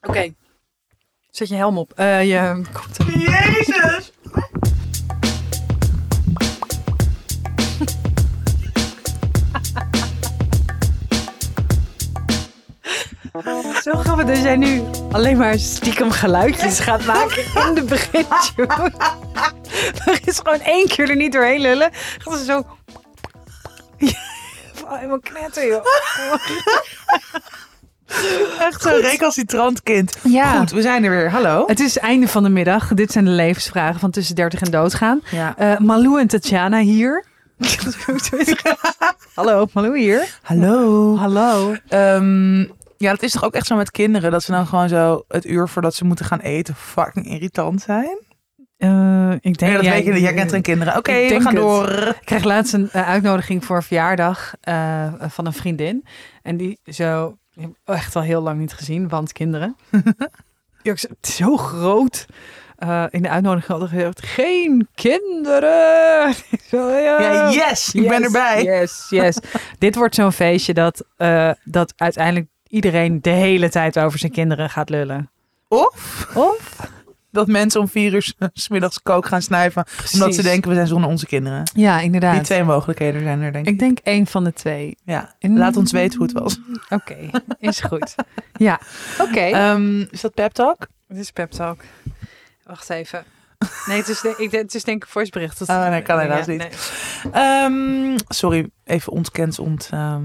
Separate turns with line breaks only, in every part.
Oké. Zet je helm op. Eh, je komt.
Jezus!
Zo grappig dat jij nu alleen maar stiekem geluidjes gaat maken in de begintune. er is gewoon één keer er niet doorheen lullen. Dat is zo... Van helemaal knetter, joh. Echt zo.
Recalcitrant kind.
Ja.
Goed, we zijn er weer. Hallo.
Het is het einde van de middag. Dit zijn de levensvragen van tussen 30 en doodgaan.
Ja.
Eh, Malou en Tatjana hier. Hallo, Malou hier.
Hallo.
Hallo.
Ehm, ja, dat is toch ook echt zo met kinderen. Dat ze dan gewoon zo het uur voordat ze moeten gaan eten fucking irritant zijn.
Eh, ik denk
Ja, dat weet je niet. Jij kent geen kinderen. Oké,
Ik
we
denk
gaan
het.
door.
Ik kreeg laatst een eh, uitnodiging voor een verjaardag eh, van een vriendin. En die zo, die heb ik echt al heel lang niet gezien, want kinderen. Ja, ik zei, het is zo groot. Eh, in de uitnodiging had ik gezegd, geen kinderen. Ik zo, ja.
Ja, yes, ik ben
Yes,
erbij.
Yes, yes. Dit wordt zo'n feestje dat, eh, dat uiteindelijk iedereen de hele tijd over zijn kinderen gaat lullen.
Of
Of?
dat mensen om vier uur s middags kook gaan snuiven. Omdat ze
Precies.
denken we zijn zonder onze kinderen.
Ja,
Die
inderdaad.
twee mogelijkheden zijn er denk ik.
Ik denk één van de twee.
Ja. Laat ons weten hoe het was.
Oké, is goed. Eh, Ja, oké.
Ehm, is dat pep talk?
Het is pep talk. Wacht even. Nee, het is, de- ik, het is denk ik voicebericht. Dat,
Oh, nee, kan helaas niet.
nee.
Ehm, sorry, even ontkend ont. ehm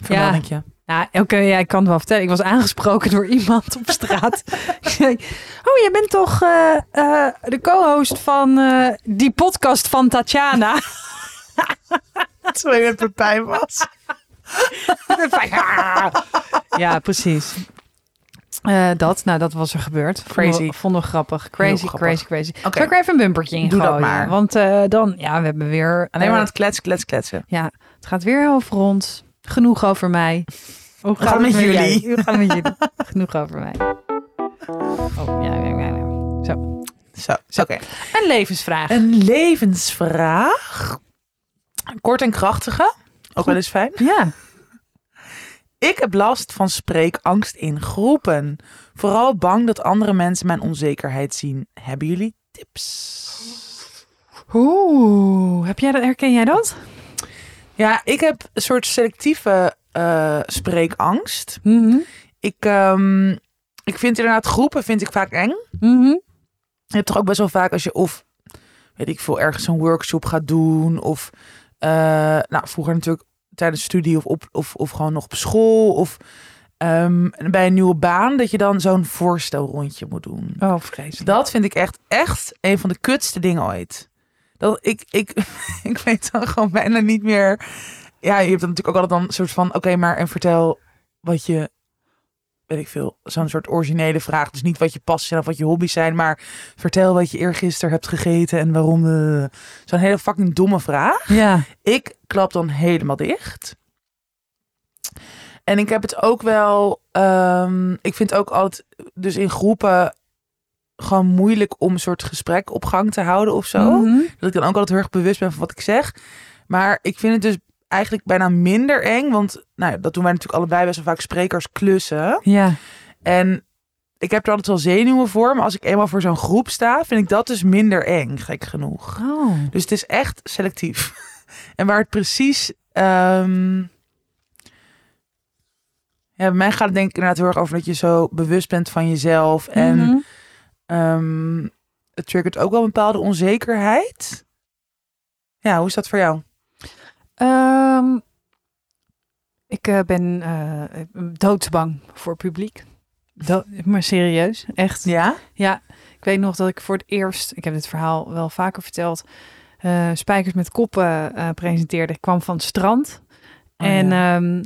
vermeldingje.
Ja, Nou, oké, ja, ik kan het wel vertellen. Ik was aangesproken door iemand op straat. Die zei, oh, jij bent toch eh, eh, de co-host van eh, die podcast van Tatjana?
Sorry dat het pijn was.
ja, precies. Eh, dat, nou, dat was er gebeurd. Vonden
Crazy.
we- Vonden we grappig. Crazy,
Heel grappig.
crazy, crazy. Zal ik er even een bumpertje in
Doe dat
gooien?
maar.
Want eh, dan, ja, we hebben weer...
Alleen maar
eh,
aan het kletsen, kletsen, kletsen.
Ja, het gaat weer over ons. Genoeg over mij. Hoe
gaat het met jullie?
jij? Hoe gaat het met jullie? Genoeg over mij. Oh, ja, ja, ja, ja.
Zo,
Zo.
oké.
Een levensvraag.
Een levensvraag. Kort en krachtige. Ook wel eens fijn.
Ja.
Ik heb last van spreekangst in groepen. Vooral bang dat andere mensen mijn onzekerheid zien. Hebben jullie tips?
Oeh, heb jij dat, herken jij dat?
Ja, ik heb een soort selectieve eh, spreekangst.
Mhm.
Ik, ehm, ik vind inderdaad groepen vind ik vaak eng.
Mhm.
Je hebt toch ook best wel vaak als je of weet ik veel ergens een workshop gaat doen of eh, nou vroeger natuurlijk tijdens studie of op of, of gewoon nog op school of ehm, bij een nieuwe baan dat je dan zo'n voorstelrondje moet doen.
Oh, vreselijk.
Dus Dat vind ik echt echt een van de kutste dingen ooit. Dat ik ik ik weet dan gewoon bijna niet meer. Ja, je hebt dan natuurlijk ook altijd dan een soort van oké, maar en vertel wat je weet ik veel, zo'n soort originele vraag. Dus niet wat je passies zijn of wat je hobby's zijn, maar vertel wat je eergisteren hebt gegeten en waarom. eh. zo'n hele fucking domme vraag.
Ja.
Ik klap dan helemaal dicht. En ik heb het ook wel. ehm, ik vind ook altijd, dus in groepen, gewoon moeilijk om een soort gesprek op gang te houden of zo.
Mhm.
Dat ik dan ook altijd heel erg bewust ben van wat ik zeg. Maar ik vind het dus eigenlijk bijna minder eng. Want nou, ja, dat doen wij natuurlijk allebei best wel vaak sprekers klussen.
Ja.
En ik heb er altijd wel zenuwen voor. Maar als ik eenmaal voor zo'n groep sta, vind ik dat dus minder eng, gek genoeg.
Oh.
Dus het is echt selectief. En waar het precies. ehm, Ja, bij mij gaat het denk ik inderdaad heel erg over dat je zo bewust bent van jezelf. En
Mhm.
ehm, het triggert ook wel een bepaalde onzekerheid. Ja, hoe is dat voor jou?
Ehm, ik eh, ben eh doodsbang voor publiek. Do- maar serieus, echt.
Ja?
Ja, ik weet nog dat ik voor het eerst, ik heb dit verhaal wel vaker verteld, eh, Spijkers met Koppen eh, presenteerde. Ik kwam van het strand
Oh,
en
ja.
ehm,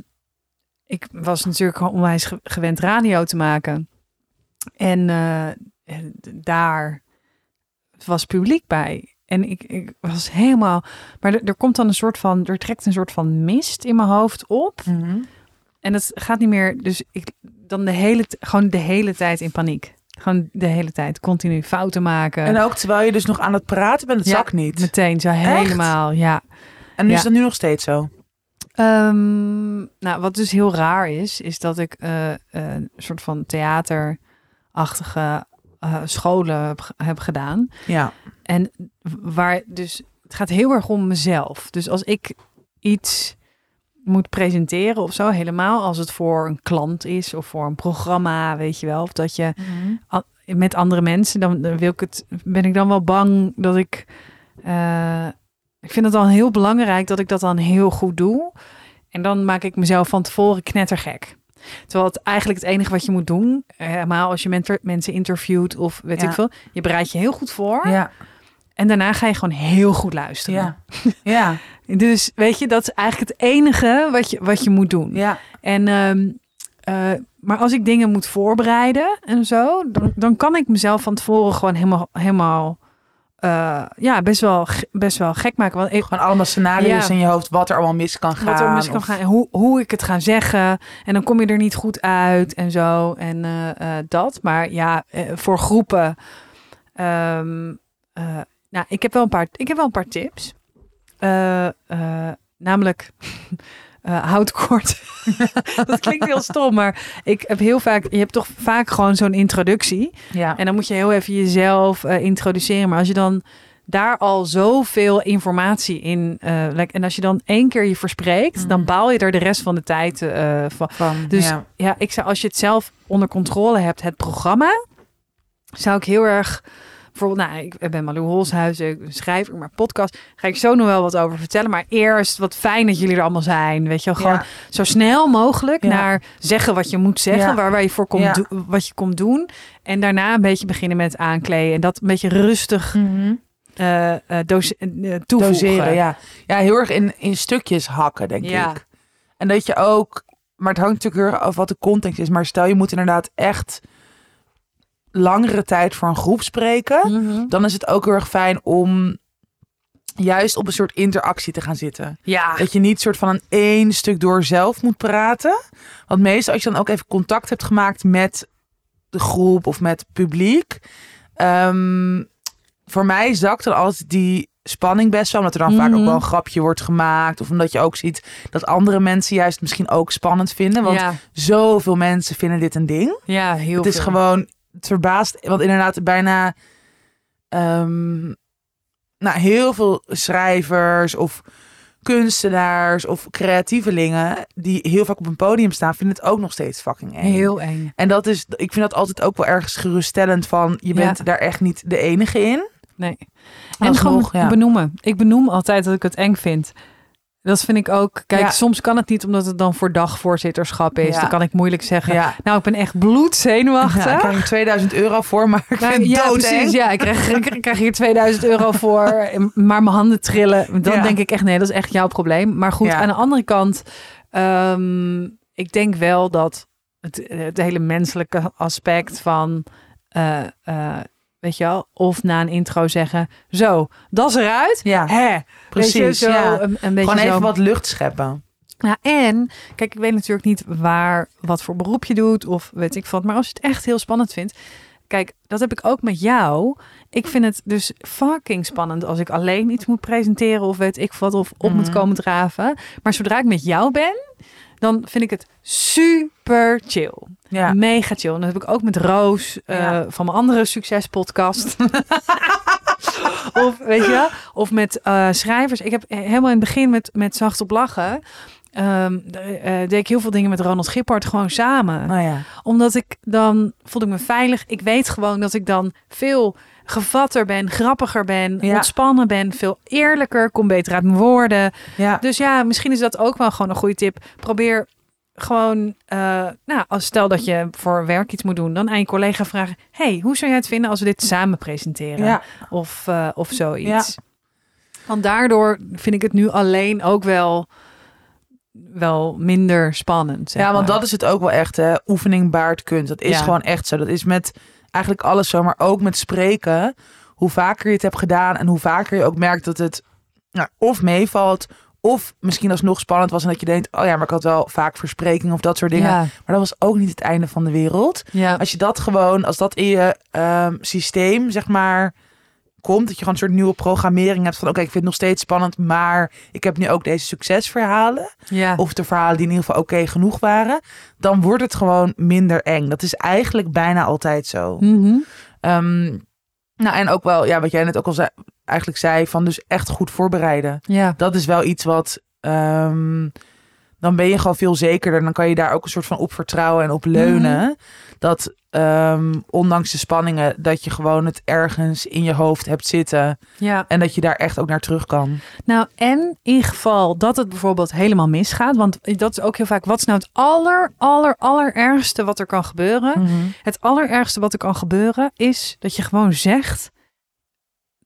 ik was natuurlijk gewoon onwijs ge- gewend radio te maken. En eh, en d- daar was publiek bij. En ik, ik was helemaal. Maar er, er komt dan een soort van. Er trekt een soort van mist in mijn hoofd op.
Mhm.
En dat gaat niet meer. Dus ik dan de hele, t- gewoon de hele tijd in paniek. Gewoon de hele tijd continu fouten maken.
En ook terwijl je dus nog aan het praten bent, het
Ja,
zak niet.
Meteen zo helemaal, ja.
En nu
ja.
is dat nu nog steeds zo.
eh, Ehm, nou, wat dus heel raar is, is dat ik eh, een soort van theater achtige eh, scholen heb, ge- heb gedaan.
Ja.
En waar dus het gaat heel erg om mezelf. Dus als ik iets moet presenteren of zo, helemaal als het voor een klant is of voor een programma, weet je wel, of dat je met andere mensen, dan, dan wil ik het, ben ik dan wel bang dat ik. eh, ik vind het dan heel belangrijk dat ik dat dan heel goed doe. En dan maak ik mezelf van tevoren knettergek. Terwijl het eigenlijk het enige wat je moet doen, helemaal als je mentor- mensen interviewt of weet
Ja.
ik veel, je bereidt je heel goed voor.
Ja.
En daarna ga je gewoon heel goed luisteren.
Ja. Ja.
Dus weet je, dat is eigenlijk het enige wat je, wat je moet doen.
Ja.
En, ehm, eh, maar als ik dingen moet voorbereiden en zo, dan, dan kan ik mezelf van tevoren gewoon helemaal, helemaal eh, ja, best wel, ge- best wel gek maken. Want ik,
Gewoon allemaal scenario's
Ja.
in je hoofd wat er allemaal mis kan gaan.
wat er mis kan
of-
gaan en hoe, hoe ik het ga zeggen. En dan kom je er niet goed uit en zo en eh, eh, dat. Maar ja, eh, voor groepen. ehm, eh, nou, ik heb wel een paar, ik heb wel een paar tips. Eh, eh, namelijk, eh, houd kort. dat klinkt heel stom, maar ik heb heel vaak, je hebt toch vaak gewoon zo'n introductie.
Ja.
En dan moet je heel even jezelf eh, introduceren. Maar als je dan daar al zoveel informatie in. eh, lekt- en als je dan één keer je verspreekt,
Mhm.
dan baal je er de rest van de tijd eh, van.
Van,
Dus-
ja.
Ja, ik zou, als je het zelf onder controle hebt, het programma, zou ik heel erg. Bijvoorbeeld, nou, ik ben Malou Holshuizen, ik ben schrijver, ik maak podcast. Ga ik zo nog wel wat over vertellen. Maar eerst, wat fijn dat jullie er allemaal zijn. Weet je wel, gewoon
Ja.
zo snel mogelijk
Ja.
naar zeggen wat je moet zeggen,
Ja.
waar, waar je voor komt,
Ja.
do- wat je komt doen. En daarna een beetje beginnen met aankleden. En dat een beetje rustig eh, eh, dose- eh, toevoegen.
Mhm. Doseren, ja. Ja, heel erg in, in stukjes hakken, denk
Ja.
ik. En dat je ook... Maar het hangt natuurlijk heel erg af wat de context is. Maar stel, je moet inderdaad echt langere tijd voor een groep spreken.
Mhm.
Dan is het ook heel erg fijn om juist op een soort interactie te gaan zitten.
Ja.
Dat je niet soort van een één stuk door zelf moet praten. Want meestal als je dan ook even contact hebt gemaakt met de groep of met het publiek. ehm, voor mij zakt dan altijd die spanning best wel. Omdat er dan vaak ook
Mhm.
wel een grapje wordt gemaakt. Of omdat je ook ziet dat andere mensen juist misschien ook spannend vinden. Want
ja.
zoveel mensen vinden dit een ding.
ja, heel
Het is
veel.
gewoon, het verbaast, want inderdaad bijna, ehm, nou heel veel schrijvers of kunstenaars of creatievelingen die heel vaak op een podium staan, vinden het ook nog steeds fucking eng.
heel eng.
En dat is, ik vind dat altijd ook wel ergens geruststellend van, je
Ja.
bent daar echt niet de enige in.
Nee. En
Alsnog,
gewoon
ja.
benoemen. Ik benoem altijd dat ik het eng vind. Dat vind ik ook. Kijk,
Ja.
soms kan het niet omdat het dan voor dagvoorzitterschap is.
Ja.
Dan kan ik moeilijk zeggen.
Ja.
Nou, ik ben echt
Ja, ik
bloedzenuwachtig.
krijg er 2000 euro voor, maar ik
Nou,
vind het
ja,
doodeng.
precies. Ja, ik krijg, ik krijg hier 2000 euro voor, en- maar mijn handen trillen. Dan
Ja.
denk ik echt, nee, dat is echt jouw probleem. Maar goed,
Ja.
aan de andere kant, ehm, ik denk wel dat het, het hele menselijke aspect van, eh, eh, weet je wel, of na een intro zeggen, zo, dat is eruit.
Ja,
Hè, Weet je,
precies.
zo
ja.
een, een beetje
Gewoon
zo.
even wat lucht scheppen.
Ja, Nou, en kijk, ik weet natuurlijk niet waar, wat voor beroep je doet of weet ik wat. Maar als je het echt heel spannend vindt. Kijk, dat heb ik ook met jou. Ik vind het dus fucking spannend als ik alleen iets moet presenteren of weet ik wat of op moet
Mhm.
komen draven. Maar zodra ik met jou ben, dan vind ik het super chill.
Ja.
Mega chill. En dat heb ik ook met Roos eh,
Ja.
van mijn andere succespodcast. of weet je wel? Of met eh, schrijvers. Ik heb he- helemaal in het begin met, met Zacht op Lachen... ehm, d- eh, deed ik heel veel dingen met Ronald Gippard gewoon samen.
Nou ja.
Omdat ik dan voelde ik me veilig. Ik weet gewoon dat ik dan veel gevatter ben, grappiger ben,
Ja.
ontspannen ben, veel eerlijker, kom beter uit mijn woorden.
Ja.
Dus ja, misschien is dat ook wel gewoon een goede tip. Probeer gewoon, eh, nou, als stel dat je voor werk iets moet doen, dan aan je collega vragen: hey, hoe zou jij het vinden als we dit samen presenteren?
ja.
Of, eh, of zoiets. Want daardoor vind ik het nu alleen ook wel, wel minder spannend. zeg
Ja, want
maar.
dat is het ook wel echt, hè? Oefening baart kunst. Dat is
Ja.
gewoon echt zo. Dat is met eigenlijk alles zo, maar ook met spreken. Hoe vaker je het hebt gedaan en hoe vaker je ook merkt dat het nou, of meevalt, of misschien alsnog spannend was en dat je denkt, oh ja, maar ik had wel vaak verspreking of dat soort dingen.
Ja,
Maar dat was ook niet het einde van de wereld.
ja.
Als je dat gewoon, als dat in je ehm, systeem, zeg maar, komt. Dat je gewoon een soort nieuwe programmering hebt van... oké, ik vind het nog steeds spannend, maar ik heb nu ook deze succesverhalen.
Ja.
Of de verhalen die in ieder geval oké genoeg waren. Dan wordt het gewoon minder eng. Dat is eigenlijk bijna altijd zo.
Mhm.
Ehm, nou, en ook wel, ja, wat jij net ook al zei, eigenlijk zei, van dus echt goed voorbereiden.
ja.
Dat is wel iets wat, ehm, dan ben je gewoon veel zekerder. Dan kan je daar ook een soort van op vertrouwen en op leunen.
Mhm.
Dat ehm, ondanks de spanningen, dat je gewoon het ergens in je hoofd hebt zitten.
Ja.
En dat je daar echt ook naar terug kan.
Nou, en in geval dat het bijvoorbeeld helemaal misgaat. Want dat is ook heel vaak. Wat is nou het aller, aller, allerergste wat er kan gebeuren? Het allerergste wat er kan gebeuren is dat je gewoon zegt.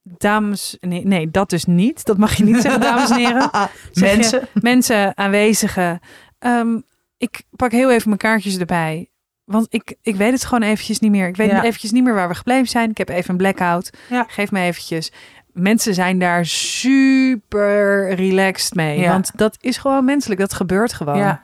Dames, nee, nee, dat dus niet. Dat mag je niet zeggen, dames en heren. Zeg je-
Mensen.
mensen, aanwezigen. ehm, ik pak heel even mijn kaartjes erbij. Want ik, ik weet het gewoon eventjes niet meer. Ik weet
Ja.
eventjes niet meer waar we gebleven zijn. Ik heb even een blackout.
Ja.
Geef me eventjes. Mensen zijn daar super relaxed mee.
Ja.
Want dat is gewoon menselijk. Dat gebeurt gewoon.
Ja.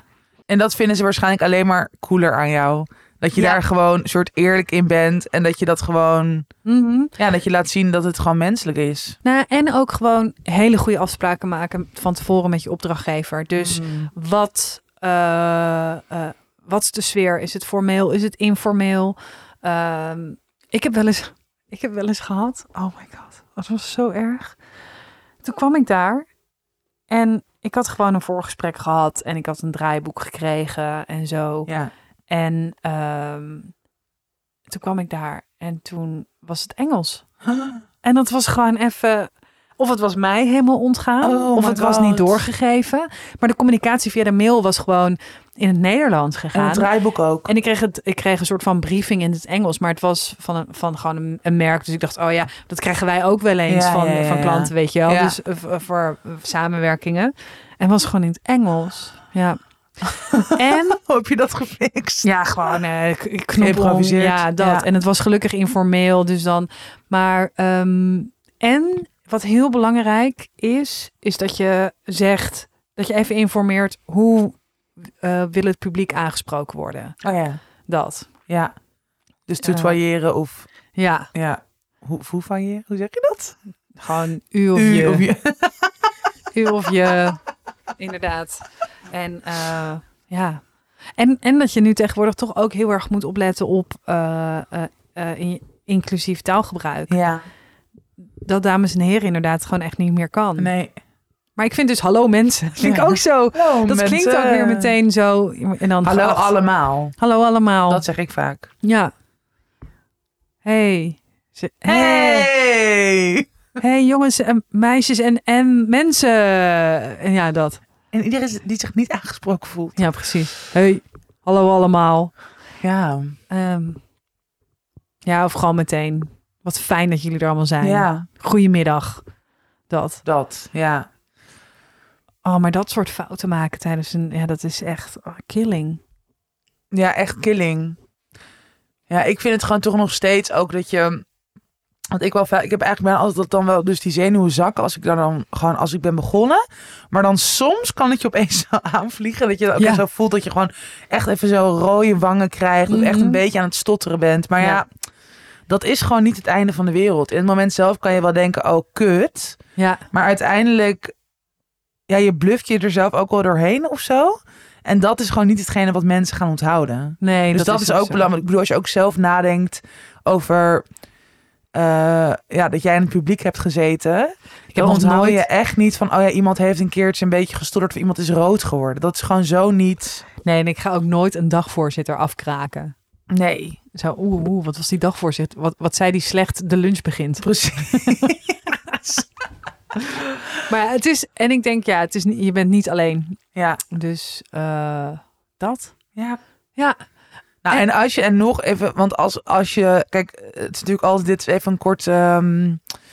En dat vinden ze waarschijnlijk alleen maar cooler aan jou. Dat je
Ja.
daar gewoon een soort eerlijk in bent. En dat je dat gewoon.
Mhm.
Ja, dat je laat zien dat het gewoon menselijk is.
Nou, en ook gewoon hele goede afspraken maken van tevoren met je opdrachtgever. Dus Wat, eh, eh, wat is de sfeer? Is het formeel? Is het informeel? Ehm, ik, heb wel eens, ik heb wel eens gehad. Oh my god, dat was zo erg. Toen kwam ik daar en ik had gewoon een voorgesprek gehad en ik had een draaiboek gekregen en zo.
Ja.
En ehm, toen kwam ik daar en toen was het Engels. En dat was gewoon even. Of het was mij helemaal ontgaan,
Oh
of
my
het was niet
God.
doorgegeven. Maar de communicatie via de mail was gewoon in het Nederlands
En
gegaan.
het
En,
draaiboek ook.
ik, kreeg het, ik kreeg een soort van briefing in het Engels, maar het was van, een, van gewoon een, een merk. Dus ik dacht, oh ja, dat krijgen wij ook wel eens
Ja,
van,
ja, ja,
van
ja.
klanten, weet je wel.
Ja.
Dus eh, v- eh, voor eh, samenwerkingen. En was gewoon in het Engels. Ja. en
Hoe heb je dat gefixt?
ja, gewoon eh, k- knoppen.
Geïmproviseerd.
Ja, dat.
Ja.
En het was gelukkig informeel, dus dan. Maar ehm, en wat heel belangrijk is, is dat je zegt dat je even informeert hoe eh, wil het publiek aangesproken worden.
Oh ja.
Dat.
Ja. Dus
Ja.
tutoyeren of.
Ja,
Ja. Hoe, hoe failleren? Hoe zeg je dat?
gewoon u of
U
je.
of je.
U of je. Inderdaad. En eh, ja. En, en dat je nu tegenwoordig toch ook heel erg moet opletten op eh, eh, eh, in- inclusief taalgebruik.
Ja.
dat dames en heren inderdaad gewoon echt niet meer kan.
Nee.
Maar ik vind dus hallo mensen. Vind ik
Ja.
ook zo.
Hallo,
Dat klinkt ook weer meteen Oh. zo. En dan
Hallo
geacht.
allemaal.
Hallo allemaal.
Dat zeg ik vaak.
Ja. Hey. Ze- hey.
Hey!
Hey, jongens en meisjes en, en mensen. En ja, dat.
En iedereen is- die zich niet aangesproken voelt.
Ja, precies. Hey. Hallo allemaal.
Ja.
Ehm, ja, of gewoon meteen. Wat fijn dat jullie er allemaal zijn.
Ja.
Goedemiddag. Dat.
Dat. Ja.
Oh, maar dat soort fouten maken tijdens een... Ja, dat is echt oh, killing.
Ja, echt killing. Ja, ik vind het gewoon toch nog steeds ook dat je. Want ik, wel, vaak- ik heb eigenlijk bijna altijd dat dan wel dus die zenuwen zakken als ik dan, dan gewoon als ik ben begonnen. Maar dan soms kan het je opeens zo aanvliegen. Dat je dat ook
Ja.
echt zo voelt dat je gewoon echt even zo rode wangen krijgt. Of echt
Mhm.
een beetje aan het stotteren bent. Maar ja.
Ja.
dat is gewoon niet het einde van de wereld. In het moment zelf kan je wel denken, oh kut.
Ja,
Maar uiteindelijk, ja, je bluft je er zelf ook wel doorheen of zo. En dat is gewoon niet hetgene wat mensen gaan onthouden.
nee.
Dus dat, is ook
zo.
belangrijk. Ik bedoel, als je ook zelf nadenkt over eh, ja, dat jij in het publiek hebt gezeten,
Ik heb
dan
nog
onthoud
nooit...
je echt niet van, oh ja, iemand heeft een keertje een beetje gestotterd of iemand is rood geworden. Dat is gewoon zo niet.
Nee, en ik ga ook nooit een dagvoorzitter afkraken.
Nee,
Zo, oeh, oeh, wat was die dagvoorzitter? Wat, wat zei die slecht? De lunch begint.
precies.
Maar het is... En ik denk, ja, het is, niet- je bent niet alleen.
Ja,
Dus eh, dat.
ja.
Ja.
Nou,
En-
en als je en nog even, want als, als je, kijk, het is natuurlijk altijd dit is even een kort, ehm,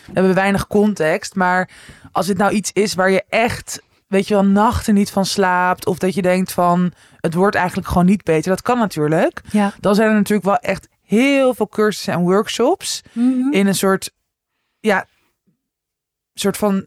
we hebben weinig context, maar als dit nou iets is waar je echt, weet je wel, nachten niet van slaapt, of dat je denkt van, het wordt eigenlijk gewoon niet beter, dat kan natuurlijk.
Ja.
Dan zijn er natuurlijk wel echt heel veel cursussen en workshops
Mhm. Hm?
in een soort, ja, soort van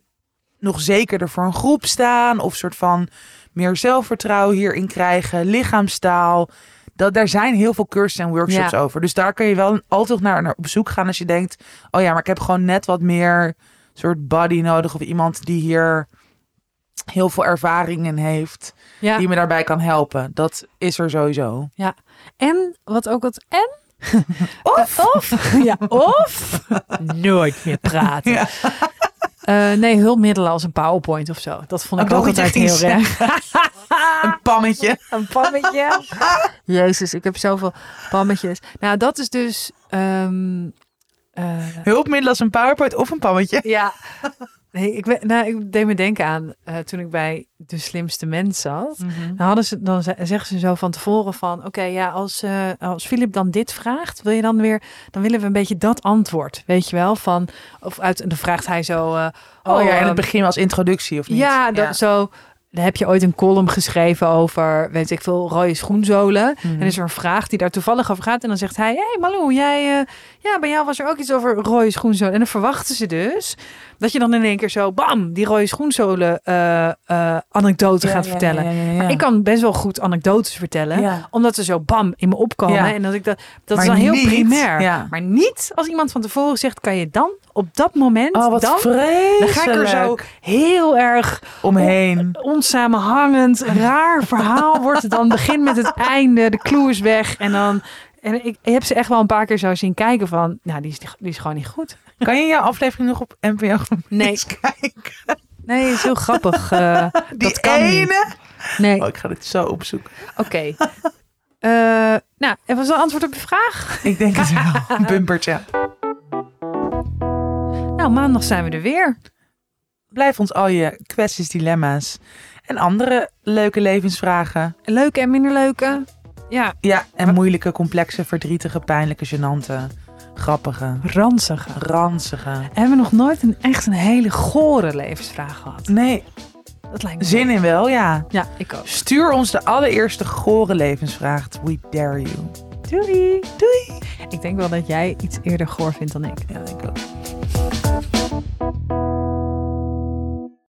nog zekerder voor een groep staan, of soort van meer zelfvertrouwen hierin krijgen, lichaamstaal. Dat, daar zijn heel veel cursussen en workshops
Ja.
over. Dus daar kun je wel altijd naar, naar op zoek gaan als je denkt... oh ja, maar ik heb gewoon net wat meer soort body nodig... of iemand die hier heel veel ervaring in heeft...
Ja.
die me daarbij kan helpen. Dat is er sowieso.
En wat ook wat. En? Eh,
Of...
Of? ja, of? Nooit meer praten. Eh, nee, hulpmiddelen als een PowerPoint of zo. Dat vond ik
Oh,
ook
dat
altijd
ging
heel erg. Ah.
Een pammetje.
Een pammetje. Jezus, ik heb zoveel pammetjes. Nou, dat is dus. ehm, eh,
Hulpmiddel als een powerpoint of een pammetje.
Ja. Nee, ik, ben, nou, ik deed me denken aan eh, toen ik bij de slimste mens zat. Dan, hadden ze, dan ze- zeggen ze zo van tevoren van... Oké, ja, als, eh, als Filip dan dit vraagt, wil je dan weer... Dan willen we een beetje dat antwoord, weet je wel? Van, of uit, en dan vraagt hij zo... eh,
Oh, ja, in
ehm,
het begin als introductie of niet?
ja, dat, zo... Dan heb je ooit een column geschreven over, weet ik veel, rode schoenzolen. En
Mhm.
is er een vraag die daar toevallig over gaat. En dan zegt hij, hé hey Malou, jij, eh, ja, bij jou was er ook iets over rode schoenzolen. En dan verwachten ze dus dat je dan in één keer zo, bam, die rode schoenzolen eh, eh, anekdote gaat vertellen. Ik kan best wel goed anekdotes vertellen.
Ja.
Omdat ze zo bam in me opkomen.
Ja.
En dat, ik dat, dat
Maar
is dan heel
niet-
primair.
ja.
Maar niet als iemand van tevoren zegt, kan je dan op dat moment,
Oh, wat
dan,
vreselijk.
dan ga ik er zo heel erg
omheen.
onsamenhangend, raar verhaal wordt het dan. Begin met het einde, de clue is weg. En dan. En ik heb ze echt wel een paar keer zo zien kijken van. Nou, die is, die is gewoon niet goed.
Kan je jouw aflevering nog op NPO Groep
Nee.
eens kijken?
Nee, is heel grappig. eh,
Die
dat kan niet.
ene.
Nee,
Oh,
oké.
ik ga dit zo opzoeken.
Eh, nou, en was dat antwoord op je vraag?
Ik denk het wel. Een bumpertje.
Nou, maandag zijn we er weer.
Blijf ons al je kwesties, dilemma's en andere leuke levensvragen.
Leuke en minder leuke. Ja,
Ja, en moeilijke, complexe, verdrietige, pijnlijke, gênante, grappige,
ranzige.
ranzige.
Hebben we nog nooit een, echt een hele gore levensvraag gehad?
Nee,
Dat lijkt me.
zin in wel, ja.
Ja, ik ook.
Stuur ons de allereerste gore levensvraag. We dare you.
Doei. Doei. Ik denk wel dat jij iets eerder goor vindt dan ik.
Ja, denk ik ook.